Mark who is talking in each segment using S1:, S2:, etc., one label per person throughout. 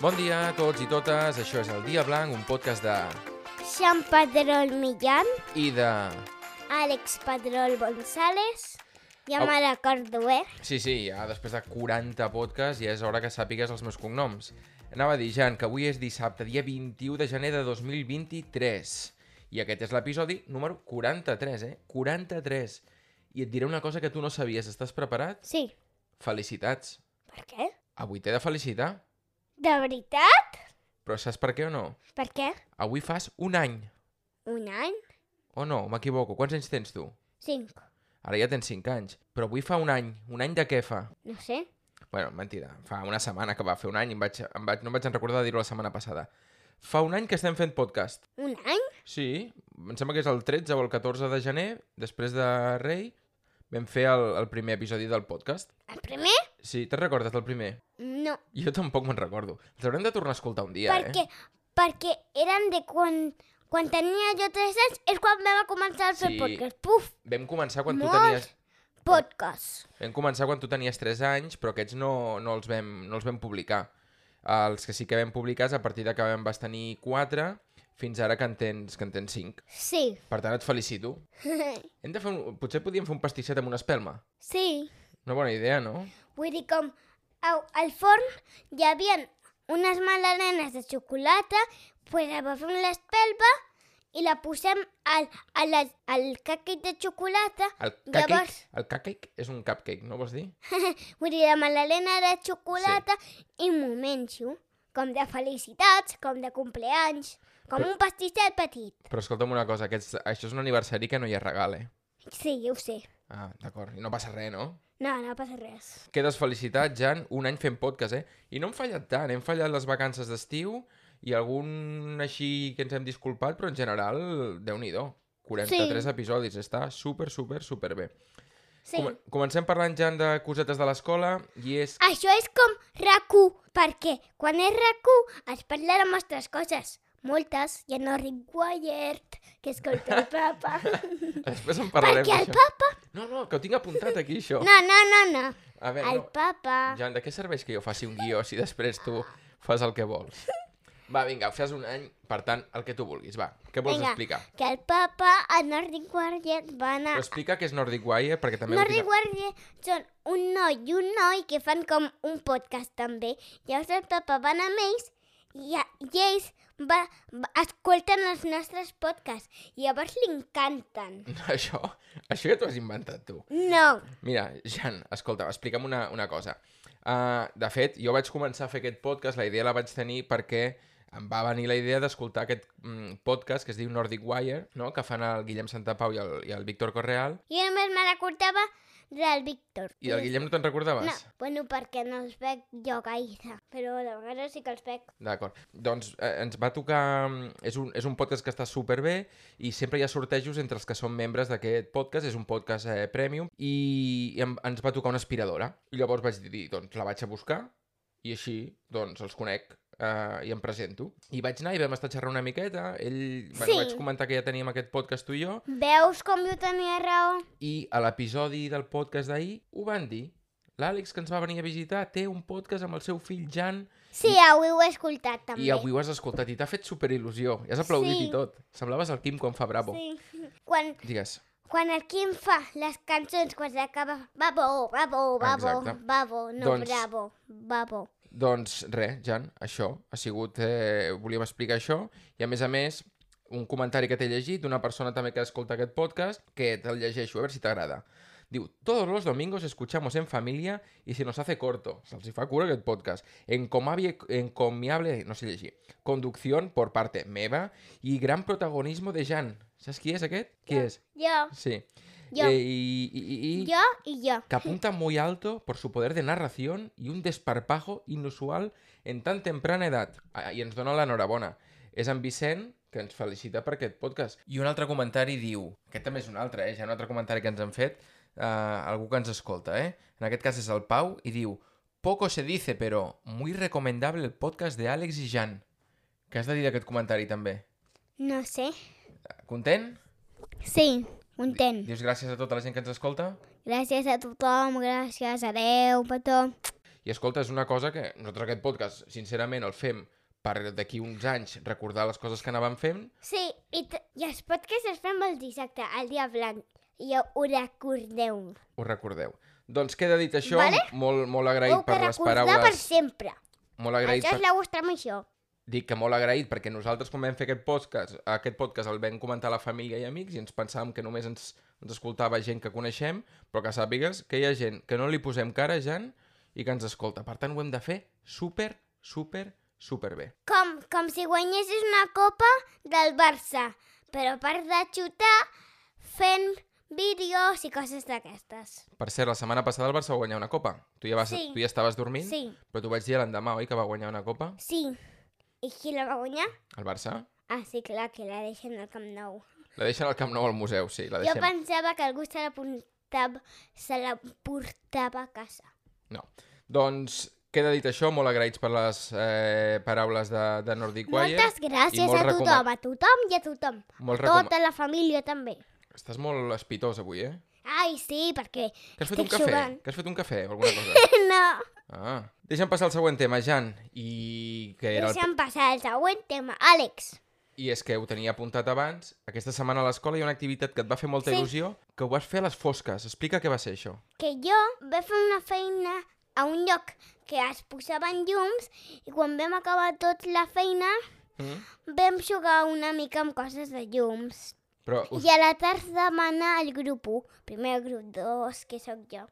S1: Bon dia a tots i totes, això és el Dia Blanc, un podcast de...
S2: Xan Padrol Millán,
S1: i de...
S2: Àlex Padrol González,
S1: Au.
S2: Yamara Cordoer,
S1: Sí, sí, ja després de 40 podcasts ja és hora que sàpigues els meus cognoms. Anava a dir, Jan, que avui és dissabte, dia 21 de gener de 2023. I aquest és l'episodi número 43, eh? 43. I et diré una cosa que tu no sabies. Estàs preparat?
S2: Sí,
S1: Felicitats.
S2: per què?
S1: Avui t'he de felicitar.
S2: De veritat?
S1: Però saps per què o no?
S2: Per què?
S1: Avui fas un any.
S2: Un any?
S1: O no, m'equivoco. Quants anys tens tu?
S2: Cinc?
S1: Ara ja tens 5 anys. Però avui fa un any. Un any de què fa?
S2: No sé.
S1: Bueno, mentida. Fa una setmana que va fer un any i em vaig, em vaig, no em vaig recordar de dir-ho la setmana passada. Fa un any que estem fent podcast.
S2: Un any?
S1: Sí, em sembla que és el 13 o el 14 de gener, després de Rei, vam fer el, el primer episodi del podcast.
S2: El primer?
S1: Sí, te'n recordes del primer?
S2: No,
S1: Jo tampoc me'n recordo. Els haurem de tornar a escoltar un dia, eh?
S2: perquè, perquè eren de quan, quan tenia jo tres anys, és quan vam començar a fer
S1: Sí.
S2: podcast. Puf,
S1: eh? Vam començar quan
S2: Molt.
S1: tu tenies...
S2: podcast.
S1: Vam començar quan tu tenies 3 anys, però aquests no, no, els vam, no els vam publicar. Els que sí que vam publicar és a partir de que vam vas tenir 4 fins ara que en tens, que en tens 5.
S2: Sí,
S1: Per tant, et felicito. Hem de fer un... Potser podíem fer un pastisset amb una espelma.
S2: sí.
S1: Una bona idea, no?
S2: Vull dir, com au, al forn hi havia unes magdalenes de xocolata, pues agafem l'espelma i la posem al, al, al caqui de xocolata.
S1: El cupcake,
S2: Llavors-
S1: el cupcake és un cupcake, no vols dir?
S2: Vull dir, la magdalena de xocolata i m'ho menjo. Com de felicitats, com de compleanys, com
S1: Però-
S2: un pastisset petit.
S1: Però escolta'm una cosa, aquests, això és un aniversari que no hi ha regal, eh?
S2: Sí, ja ho sé.
S1: Ah, d'acord. I no passa res, no?
S2: No, no passa res.
S1: Quedes felicitat, Jan, un any fent podcast, eh? I no hem fallat tant, hem fallat les vacances d'estiu i algun així que ens hem disculpat, però en general, déu nhi 43
S2: Sí.
S1: episodis, està super, super, super bé.
S2: Sí. Com...
S1: Comencem parlant, Jan, de cosetes de l'escola i és...
S2: Això és com rac perquè quan és rac es parla de moltes coses. Moltes, ja no ric guaiert, que escolta el papa.
S1: Després en parlarem
S2: perquè el
S1: d'això.
S2: papa...
S1: No, no, que ho tinc apuntat aquí, això.
S2: No, no, no, no.
S1: A veure,
S2: El
S1: no.
S2: papa...
S1: Jan, de què serveix que jo faci un guió si després tu fas el que vols? Va, vinga, fes un any, per tant, el que tu vulguis, va. Què vols
S2: Vinga. Ah.
S1: explicar?
S2: Que el papa, el Nordic Guardian, va anar...
S1: Però explica què és Nordic Wire, perquè també... ho
S2: Nordic
S1: tinc a-
S2: Guardian són un noi i un noi que fan com un podcast també. Llavors el papa va anar amb ells i, a- i ells va, va, escolten els nostres podcasts. I llavors li encanten.
S1: Això, això ja t'ho has inventat, tu.
S2: No,
S1: Mira, Jan, escolta, explica'm una, una cosa. Uh, de fet, jo vaig començar a fer aquest podcast, la idea la vaig tenir perquè em va venir la idea d'escoltar aquest mm, podcast que es diu Nordic Wire, no? que fan el Guillem Santapau i el, i el Víctor Correal.
S2: Jo només me recordava del Víctor.
S1: I del Guillem no te'n recordaves?
S2: No, bueno, perquè no els veig jo gaire, però de vegades sí que els veig.
S1: D'acord. Doncs eh, ens va tocar... mm, És un, és un podcast que està superbé i sempre hi ha sortejos entre els que són membres d'aquest podcast. És un podcast eh, premium i em, ens va tocar una aspiradora. I llavors vaig dir, doncs la vaig a buscar i així, doncs, els conec eh, i em presento. I vaig anar i vam estar xerrant una miqueta. Ell... Sí.
S2: Sí.
S1: Bueno, vaig comentar que ja teníem aquest podcast tu i jo
S2: Veus com jo tenia raó?
S1: i a l'episodi del podcast d'ahir ho van dir. L'Àlex, que ens va venir a visitar, té un podcast amb el seu fill Jan
S2: Sí, avui ho he escoltat també.
S1: I avui ho has escoltat i t'ha fet superil·lusió. I has aplaudit
S2: Sí.
S1: i tot. Semblaves el Quim quan fa Bravo.
S2: Sí. Quan,
S1: Digues.
S2: quan el Quim fa les cançons, quan s'acaba... Babo, babo, babo,
S1: Exacte.
S2: babo, no
S1: Doncs-
S2: bravo, babo.
S1: Doncs res, Jan, això ha sigut... Eh, volíem explicar això. I a més a més, un comentari que t'he llegit d'una persona també que escolta aquest podcast, que te'l llegeixo, a veure si t'agrada. Diu, todos los domingos escuchamos en familia y se nos hace corto, se'ls hi fa cura aquest podcast, encomiable, encomiable, no sé llegir, conducción por parte meva y gran protagonismo de Jan. Saps qui és aquest? Qui és?
S2: Jo,
S1: Sí.
S2: Yo.
S1: Eh, y, y- y- y-
S2: jo i jo.
S1: que apunta muy alto por su poder de narración y un desparpajo inusual en tan temprana edad. Ah, I ens dona l'enhorabona. És en Vicent, que ens felicita per aquest podcast. I un altre comentari diu... Aquest també és un altre, eh? Ja un altre comentari que ens han fet eh, algú que ens escolta, eh? En aquest cas és el Pau, i diu... Poco se dice, pero muy recomendable el podcast de Àlex i Jan. Què has de dir d'aquest comentari, també?
S2: No sé.
S1: Content?
S2: Sí, content.
S1: Dius gràcies a tota la gent que ens escolta?
S2: Gràcies a tothom, gràcies, adeu, petó.
S1: I escolta, és una cosa que nosaltres aquest podcast, sincerament, el fem per d'aquí uns anys recordar les coses que anàvem fent.
S2: Sí, i, t- i els podcasts es fan el dissabte, el dia blanc. I ho recordeu.
S1: Ho recordeu. Doncs queda dit això,
S2: Vale.
S1: molt, molt agraït
S2: Heu
S1: per
S2: que
S1: les
S2: recordar per
S1: paraules.
S2: sempre.
S1: Molt agraït
S2: Això
S1: per...
S2: és la vostra missió.
S1: Dic que molt agraït perquè nosaltres quan vam fer aquest podcast, aquest podcast el vam comentar a la família i amics i ens pensàvem que només ens, ens escoltava gent que coneixem, però que sàpigues que hi ha gent que no li posem cara, Jan, i que ens escolta. Per tant, ho hem de fer super, super, super bé.
S2: Com, com si guanyessis una copa del Barça, però a part de xutar, fent vídeos i coses d'aquestes.
S1: Per cert, la setmana passada el Barça va guanyar una copa. Tu ja, vas,
S2: Sí.
S1: tu ja estaves dormint,
S2: Sí,
S1: però t'ho vaig dir l'endemà, oi, que va guanyar una copa?
S2: sí. I qui la va guanyar?
S1: El Barça?
S2: Ah, sí, clar, que la deixen al Camp Nou.
S1: La deixen al Camp Nou al museu, sí, la
S2: Jo
S1: deixem.
S2: pensava que algú se la portava, se la portava a casa.
S1: No. Doncs queda dit això, molt agraïts per les eh, paraules de, de Nordic Wire.
S2: Moltes gràcies eh,
S1: molt
S2: a tothom,
S1: recoman-
S2: a tothom i a tothom.
S1: Molt recoma...
S2: Tota la família també.
S1: Estàs molt espitós avui, eh?
S2: Ai, sí, perquè...
S1: Que has fet un
S2: Estic
S1: cafè?
S2: jugant.
S1: Que has fet un cafè o alguna cosa?
S2: No,
S1: Ah. Deixa'm passar al següent tema, Jan. I que era el...
S2: deixa'm passar al següent tema. Àlex,
S1: I és que ho tenia apuntat abans. Aquesta setmana a l'escola hi ha una activitat que et va fer molta
S2: Sí.
S1: il·lusió, que ho vas fer a les fosques. Explica què va ser això.
S2: que jo vaig fer una feina a un lloc que es posaven llums i quan vam acabar tota la feina
S1: Mm?
S2: vam jugar una mica amb coses de llums.
S1: Però us...
S2: I a la tarda va anar el grup 1, primer el grup 2, que sóc jo.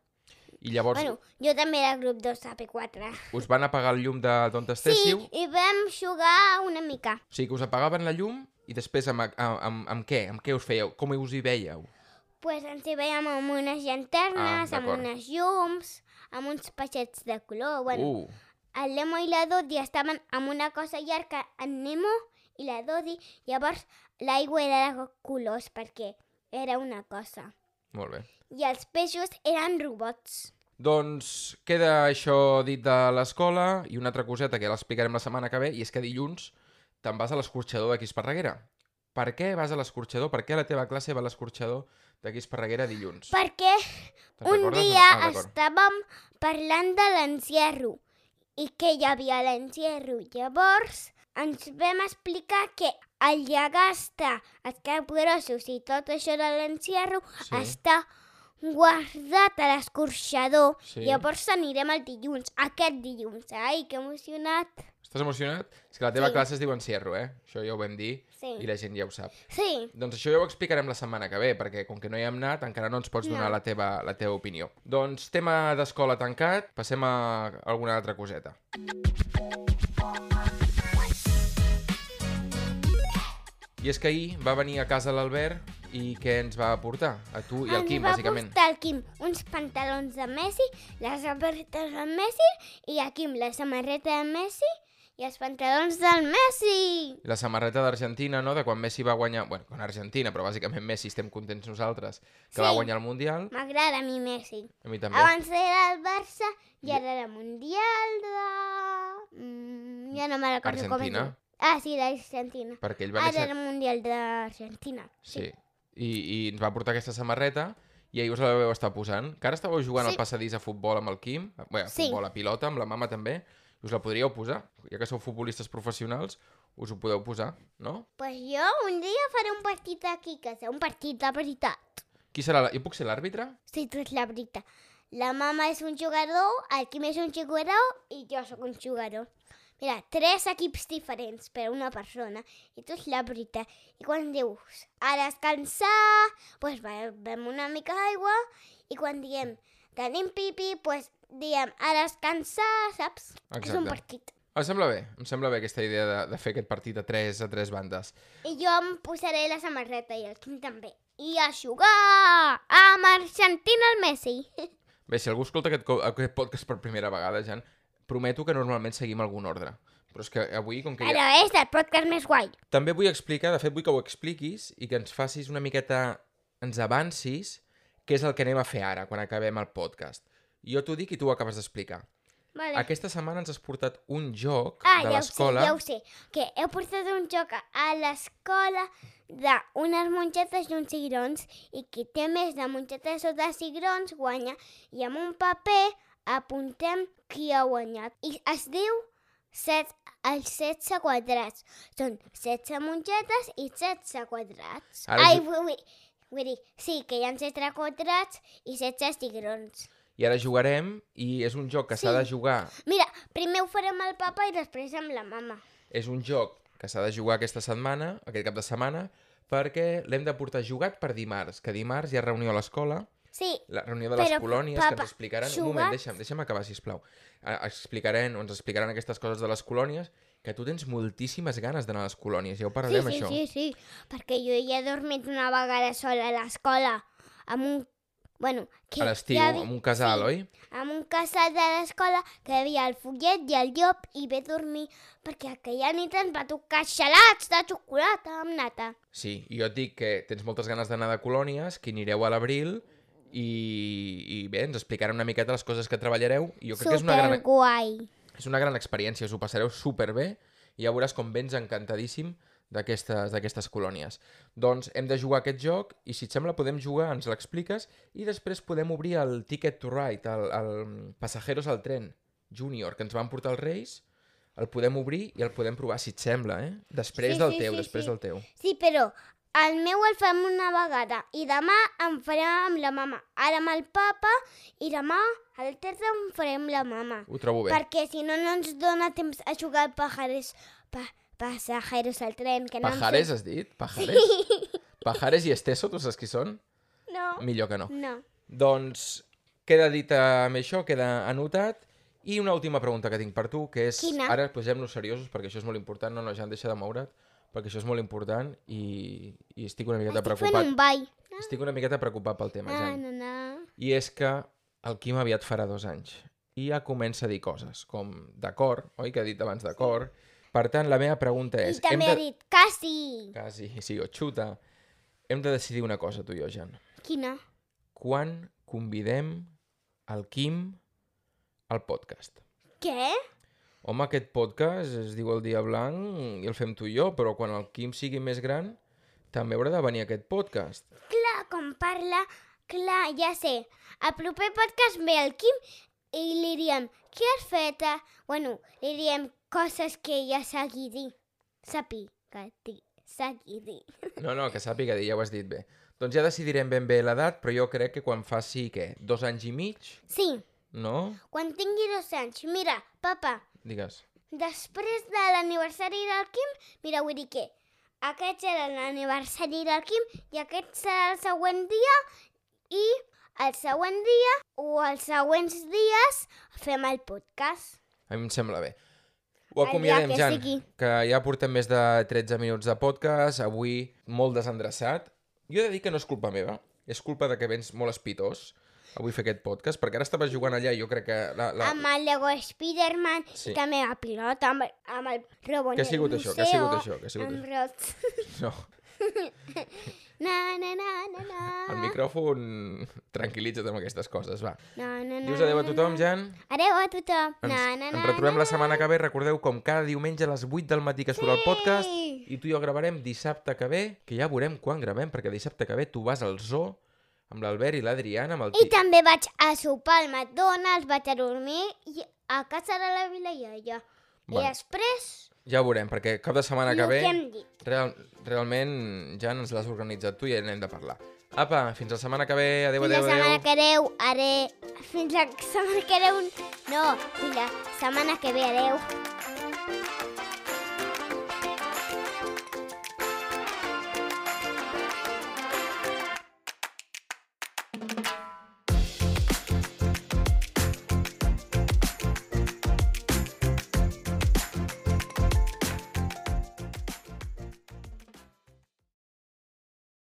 S1: I llavors
S2: Bueno, jo també era grup 2 a P4.
S1: us van apagar el llum de- d'on
S2: Sí,
S1: estéssiu?
S2: i vam jugar una mica.
S1: O sigui, que us apagaven la llum i després amb, amb, amb, amb què? Amb què us fèieu? Com us hi veieu?
S2: Pues ens hi veiem amb unes llanternes,
S1: Ah,
S2: amb
S1: d'acord.
S2: unes llums, amb uns peixets de color. Bueno,
S1: Uh,
S2: el Nemo i la Dodi estaven amb una cosa llarga, en Nemo i la Dodi. Llavors, l'aigua era de colors perquè era una cosa.
S1: molt bé.
S2: I els peixos eren robots.
S1: Doncs queda això dit de l'escola i una altra coseta que ja l'explicarem la setmana que ve i és que dilluns te'n vas a l'escorxador d'aquí Esparreguera. Per què vas a l'escorxador? Per què la teva classe va a l'escorxador d'aquí Esparreguera dilluns?
S2: Perquè
S1: Te'n
S2: un
S1: recordes o no?
S2: dia
S1: Ah, d'acord.
S2: estàvem parlant de l'encierro i que hi havia l'encierro. Llavors ens vam explicar que el llagasta, els capgrossos i tot això de l'encierro
S1: Sí.
S2: està guardat a l'escorxador.
S1: Sí.
S2: Llavors anirem el dilluns, aquest dilluns. Ai, que emocionat.
S1: Estàs emocionat? És que la teva
S2: Sí.
S1: classe es diu Encierro, eh? Això ja ho vam dir
S2: Sí.
S1: i la gent ja ho sap.
S2: Sí,
S1: Doncs això ja ho explicarem la setmana que ve, perquè com que no hi hem anat, encara no ens pots donar
S2: No.
S1: la, teva, la teva opinió. Doncs tema d'escola tancat, passem a alguna altra coseta. I és que ahir va venir a casa l'Albert i què ens va portar? A tu i al
S2: ens
S1: Quim,
S2: va
S1: bàsicament.
S2: portar el Quim uns pantalons de Messi, les samarretes de Messi i el Quim la samarreta de Messi i els pantalons del Messi.
S1: La samarreta d'Argentina, no?, de quan Messi va guanyar... Bueno, quan Argentina, però bàsicament Messi estem contents nosaltres, que va
S2: Sí.
S1: guanyar el Mundial.
S2: M'agrada a mi Messi.
S1: A mi també.
S2: Abans era el Barça i ara era Mundial de... Mm, ja no me recordo com es
S1: Argentina.
S2: diu. Ah, sí, d'Argentina.
S1: Perquè ell va
S2: Ara
S1: néixer...
S2: era Mundial d'Argentina.
S1: Sí. I, I ens va portar aquesta samarreta i ahir us la veu estar posant. Que ara estàveu jugant
S2: Sí.
S1: al passadís a futbol amb el Quim, a- bé, a
S2: Sí.
S1: futbol a pilota, amb la mama també, i us la podríeu posar. Ja que sou futbolistes professionals, us ho podeu posar, no?
S2: Pues jo un dia faré un partit aquí, que serà un partit de veritat.
S1: Qui serà? La... Jo puc ser l'àrbitre?
S2: Sí, tu ets la veritat. La mama és un jugador, el Quim és un jugador i jo sóc un jugador. Mira, tres equips diferents per a una persona i tu ets la veritat. I quan dius a descansar, doncs bevem una mica d'aigua i quan diem tenim pipi, doncs diem a descansar, saps? És un
S1: Exacte.
S2: partit.
S1: Em sembla bé, em sembla bé aquesta idea de, de fer aquest partit a tres, a tres bandes.
S2: I jo em posaré la samarreta i el Quim també. I a jugar! Amb Argentina el Messi!
S1: Bé, si algú escolta aquest, co- aquest podcast per primera vegada, Jan, prometo que normalment seguim algun ordre. Però és que avui, com que ja...
S2: Però és el podcast més guai.
S1: També vull explicar, de fet vull que ho expliquis i que ens facis una miqueta, ens avancis, què és el que anem a fer ara, quan acabem el podcast. Jo t'ho dic i tu ho acabes d'explicar.
S2: Vale.
S1: Aquesta setmana ens has portat un joc
S2: Ah,
S1: de
S2: ja ho sé,
S1: l'escola.
S2: ja ho sé. Que heu portat un joc a- a l'escola d'unes mongetes i uns cigrons i qui té més de mongetes o de cigrons guanya i amb un paper apuntem qui ha guanyat. I es diu set, els 16 quadrats. Són 16 mongetes i 16 quadrats.
S1: Ara
S2: Ai,
S1: ju-
S2: vull, vull, vull dir, sí, que hi ha 16 quadrats i 16 cigrons.
S1: I ara jugarem i és un joc que s'ha
S2: Sí.
S1: de jugar.
S2: Mira, primer ho farem amb el papa i després amb la mama.
S1: És un joc que s'ha de jugar aquesta setmana, aquest cap de setmana, perquè l'hem de portar jugat per dimarts, que dimarts hi ha reunió a l'escola,
S2: Sí,
S1: la reunió de les
S2: Però,
S1: colònies que
S2: papa,
S1: ens explicaran... Un moment,
S2: jugat-
S1: deixa'm, deixa'm acabar, sisplau. Eh, Explicaran, ens explicaran aquestes coses de les colònies, que tu tens moltíssimes ganes d'anar a les colònies, ja ho
S2: sí,
S1: parlarem,
S2: sí,
S1: això.
S2: sí, sí, perquè jo ja he dormit una vegada sola a l'escola amb un... Bueno, que
S1: A l'estiu,
S2: hi havia-
S1: amb un casal,
S2: sí.
S1: oi?
S2: amb un casal de l'escola que hi havia el fullet i el llop i ve a dormir perquè aquella nit ens va tocar xalats de xocolata amb nata.
S1: Sí, i jo et dic que tens moltes ganes d'anar de colònies, que anireu a l'abril i, i bé, ens explicaran una miqueta les coses que treballareu i jo crec que és una, gran,
S2: Superguai.
S1: és una gran experiència, us ho passareu superbé i ja veuràs com vens encantadíssim d'aquestes d'aquestes colònies. Doncs hem de jugar aquest joc i si et sembla podem jugar, ens l'expliques i després podem obrir el Ticket to Ride, el, el Passajeros al tren júnior que ens van portar els Reis, el podem obrir i el podem provar, si et sembla, eh? Després
S2: Sí,
S1: del
S2: sí,
S1: teu,
S2: sí,
S1: després
S2: sí.
S1: del teu.
S2: Sí, però el meu el fem una vegada i demà en farem amb la mama. Ara amb el papa i demà a la tarda en farem la mama.
S1: Ho trobo bé.
S2: Perquè si no, no ens dona temps a jugar al pajares, pa, passajeros al tren. Que no em sé-
S1: Pajares, has dit? Pajares? Pajares i Esteso, tu saps qui són?
S2: No,
S1: Millor que no.
S2: no.
S1: Doncs queda dit eh, amb això, queda anotat. I una última pregunta que tinc per tu, que és...
S2: Quina?
S1: Ara posem-nos seriosos, perquè això és molt important. No, no, Jan, deixa de moure't, perquè això és molt important i, i estic una miqueta
S2: Estic fent
S1: preocupat.
S2: un Ah, ball.
S1: Estic una miqueta preocupat pel tema,
S2: Na,
S1: Jan.
S2: na, na.
S1: I és que el Quim aviat farà dos anys i ja comença a dir coses, com d'acord, oi, que ha dit abans d'acord. Per tant, la meva pregunta és...
S2: I també ha
S1: de...
S2: dit quasi.
S1: Quasi, sí, o xuta. Hem de decidir una cosa, tu i jo, Jan.
S2: Quina?
S1: Quan convidem el Quim al podcast?
S2: Què?
S1: Home, aquest podcast es diu El Dia Blanc i el fem tu i jo, però quan el Quim sigui més gran també haurà de venir a aquest podcast.
S2: Clar, com parla, clar, ja sé. El proper podcast ve el Quim i li diem què has fet? eh?" Bueno, li diem coses que ja s'hagi dit. Sàpiga dir, s'hagi dit.
S1: No, no, que sàpiga dir, ja ho has dit bé. Doncs ja decidirem ben bé l'edat, però jo crec que quan faci, què, dos anys i mig,
S2: Sí,
S1: no?
S2: quan tingui dos anys, mira, papa,
S1: Digues.
S2: després de l'aniversari del Quim, mira, vull dir que aquest serà l'aniversari del Quim i aquest serà el següent dia i el següent dia o els següents dies fem el podcast.
S1: A mi em sembla bé. Ho
S2: El dia
S1: acomiadem,
S2: que
S1: Jan,
S2: sigui.
S1: que ja portem més de 13 minuts de podcast, avui molt desendreçat. Jo he de dir que no és culpa meva, és culpa de que vens molt espitós avui fer aquest podcast, perquè ara estaves jugant allà i jo crec que... La, la...
S2: Amb el Lego Spiderman
S1: Sí.
S2: i també la pilota, amb, amb el robot
S1: Què ha sigut
S2: del
S1: això? Què ha sigut
S2: museu,
S1: això? Què ha sigut
S2: amb
S1: això?
S2: rots.
S1: No,
S2: na, na, na, na, na.
S1: el micròfon... Tranquil·litza't amb aquestes coses, va.
S2: Na, na, na,
S1: Dius adeu a
S2: na,
S1: tothom, Jan.
S2: na. Adeu a tothom.
S1: Ens,
S2: na, na,
S1: ens
S2: na,
S1: retrobem
S2: na,
S1: la setmana que ve. Recordeu com cada diumenge a les 8 del matí que surt el podcast
S2: Sí.
S1: i tu i jo gravarem dissabte que ve, que ja veurem quan gravem, perquè dissabte que ve tu vas al zoo amb l'Albert i l'Adriana, amb el
S2: I
S1: Ti-
S2: també vaig a sopar al McDonald's, vaig a dormir i a casa de la Vila Iaia.
S1: Bueno.
S2: I després,
S1: Ja ho veurem, perquè cap de setmana
S2: el
S1: que ve
S2: que hem dit.
S1: real, realment ja ens l'has organitzat tu i ja n'hem de parlar. Apa, fins la setmana que ve. Adéu,
S2: Fins la
S1: adéu,
S2: setmana
S1: adéu.
S2: que deu, are... Fins la setmana que deu... No, fins la setmana que ve, adeu.